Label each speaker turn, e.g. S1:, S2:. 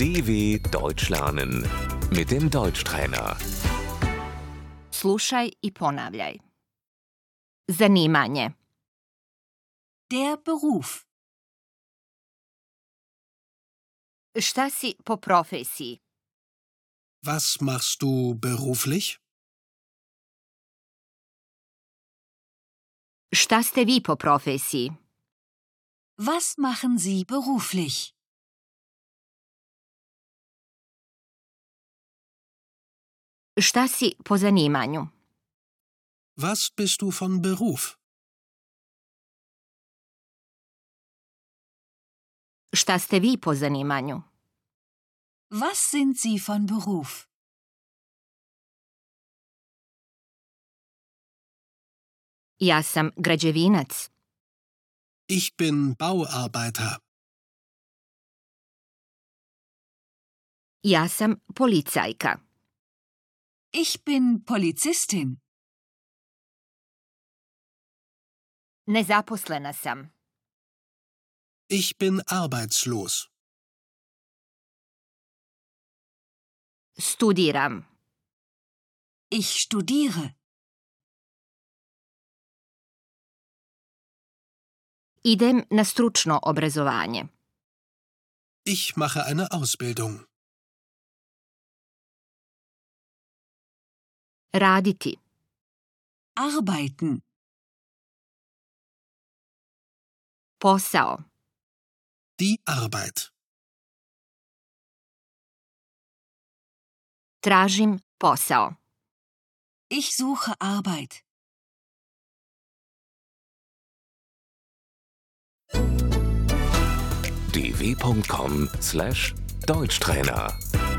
S1: DW Deutsch lernen mit dem Deutschtrainer.
S2: Slušaj i ponavljaj. Zanimanje. Der Beruf. Šta si po profesiji?
S3: Was machst du beruflich?
S2: Šta ste vi po profesiji?
S4: Was machen Sie beruflich?
S2: Šta si po zanimanju?
S3: Was bist du von Beruf?
S2: Šta ste vi po zanimanju?
S4: Was sind Sie von Beruf?
S2: Ja sam građevinac.
S3: Ich bin Bauarbeiter.
S2: Ja sam policajka.
S4: Ich bin Polizistin.
S2: Nezaposlena sam.
S3: Ich bin arbeitslos.
S2: Studiram.
S4: Ich studiere.
S2: Idem na stručno obrazovanje.
S3: Ich mache eine Ausbildung.
S2: Raditi.
S4: Arbeiten.
S2: Posao.
S3: Die Arbeit.
S2: Tražim posao.
S4: Ich suche Arbeit.
S1: dw.com/deutschtrainer